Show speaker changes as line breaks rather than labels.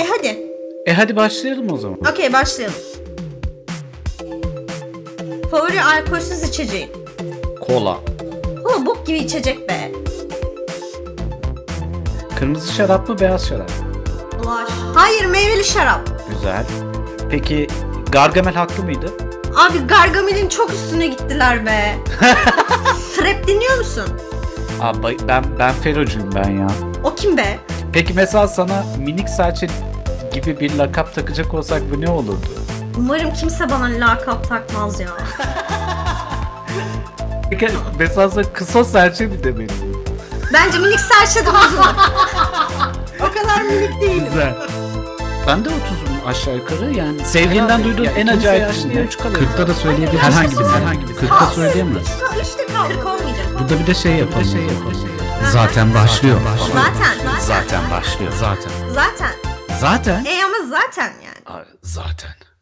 E hadi.
E hadi başlayalım o zaman.
Okey başlayalım. Favori alkolsüz içeceğin.
Kola.
Kola bok gibi içecek be.
Kırmızı şarap mı beyaz şarap? mı?
Ulaş. Hayır meyveli şarap.
Güzel. Peki Gargamel haklı mıydı?
Abi Gargamel'in çok üstüne gittiler be. Trap dinliyor musun?
Aa, bay- ben ben ferocuyum ben ya.
O kim be?
Peki mesela sana minik serçe gibi bir lakap takacak olsak bu ne olurdu?
Umarım kimse bana lakap takmaz ya.
Peki mesela sana kısa serçe mi demeliyim?
Bence minik serçe de bozulur. o kadar minik değilim.
Güzel. Ben de 30'um aşağı yukarı yani. Sevgilinden duyduğum en acayip şey ne?
40'ta da söyleyebilir
Herhangi birisi.
herhangi bir 40'ta söyleyemez.
Ha, Üçte kaldık olmayacak.
Burada bir de şey yapalım. Zaten başlıyor.
Zaten, zaten,
Zaten başlıyor.
Zaten.
zaten.
Zaten.
E ama zaten yani.
Aa,
Zaten.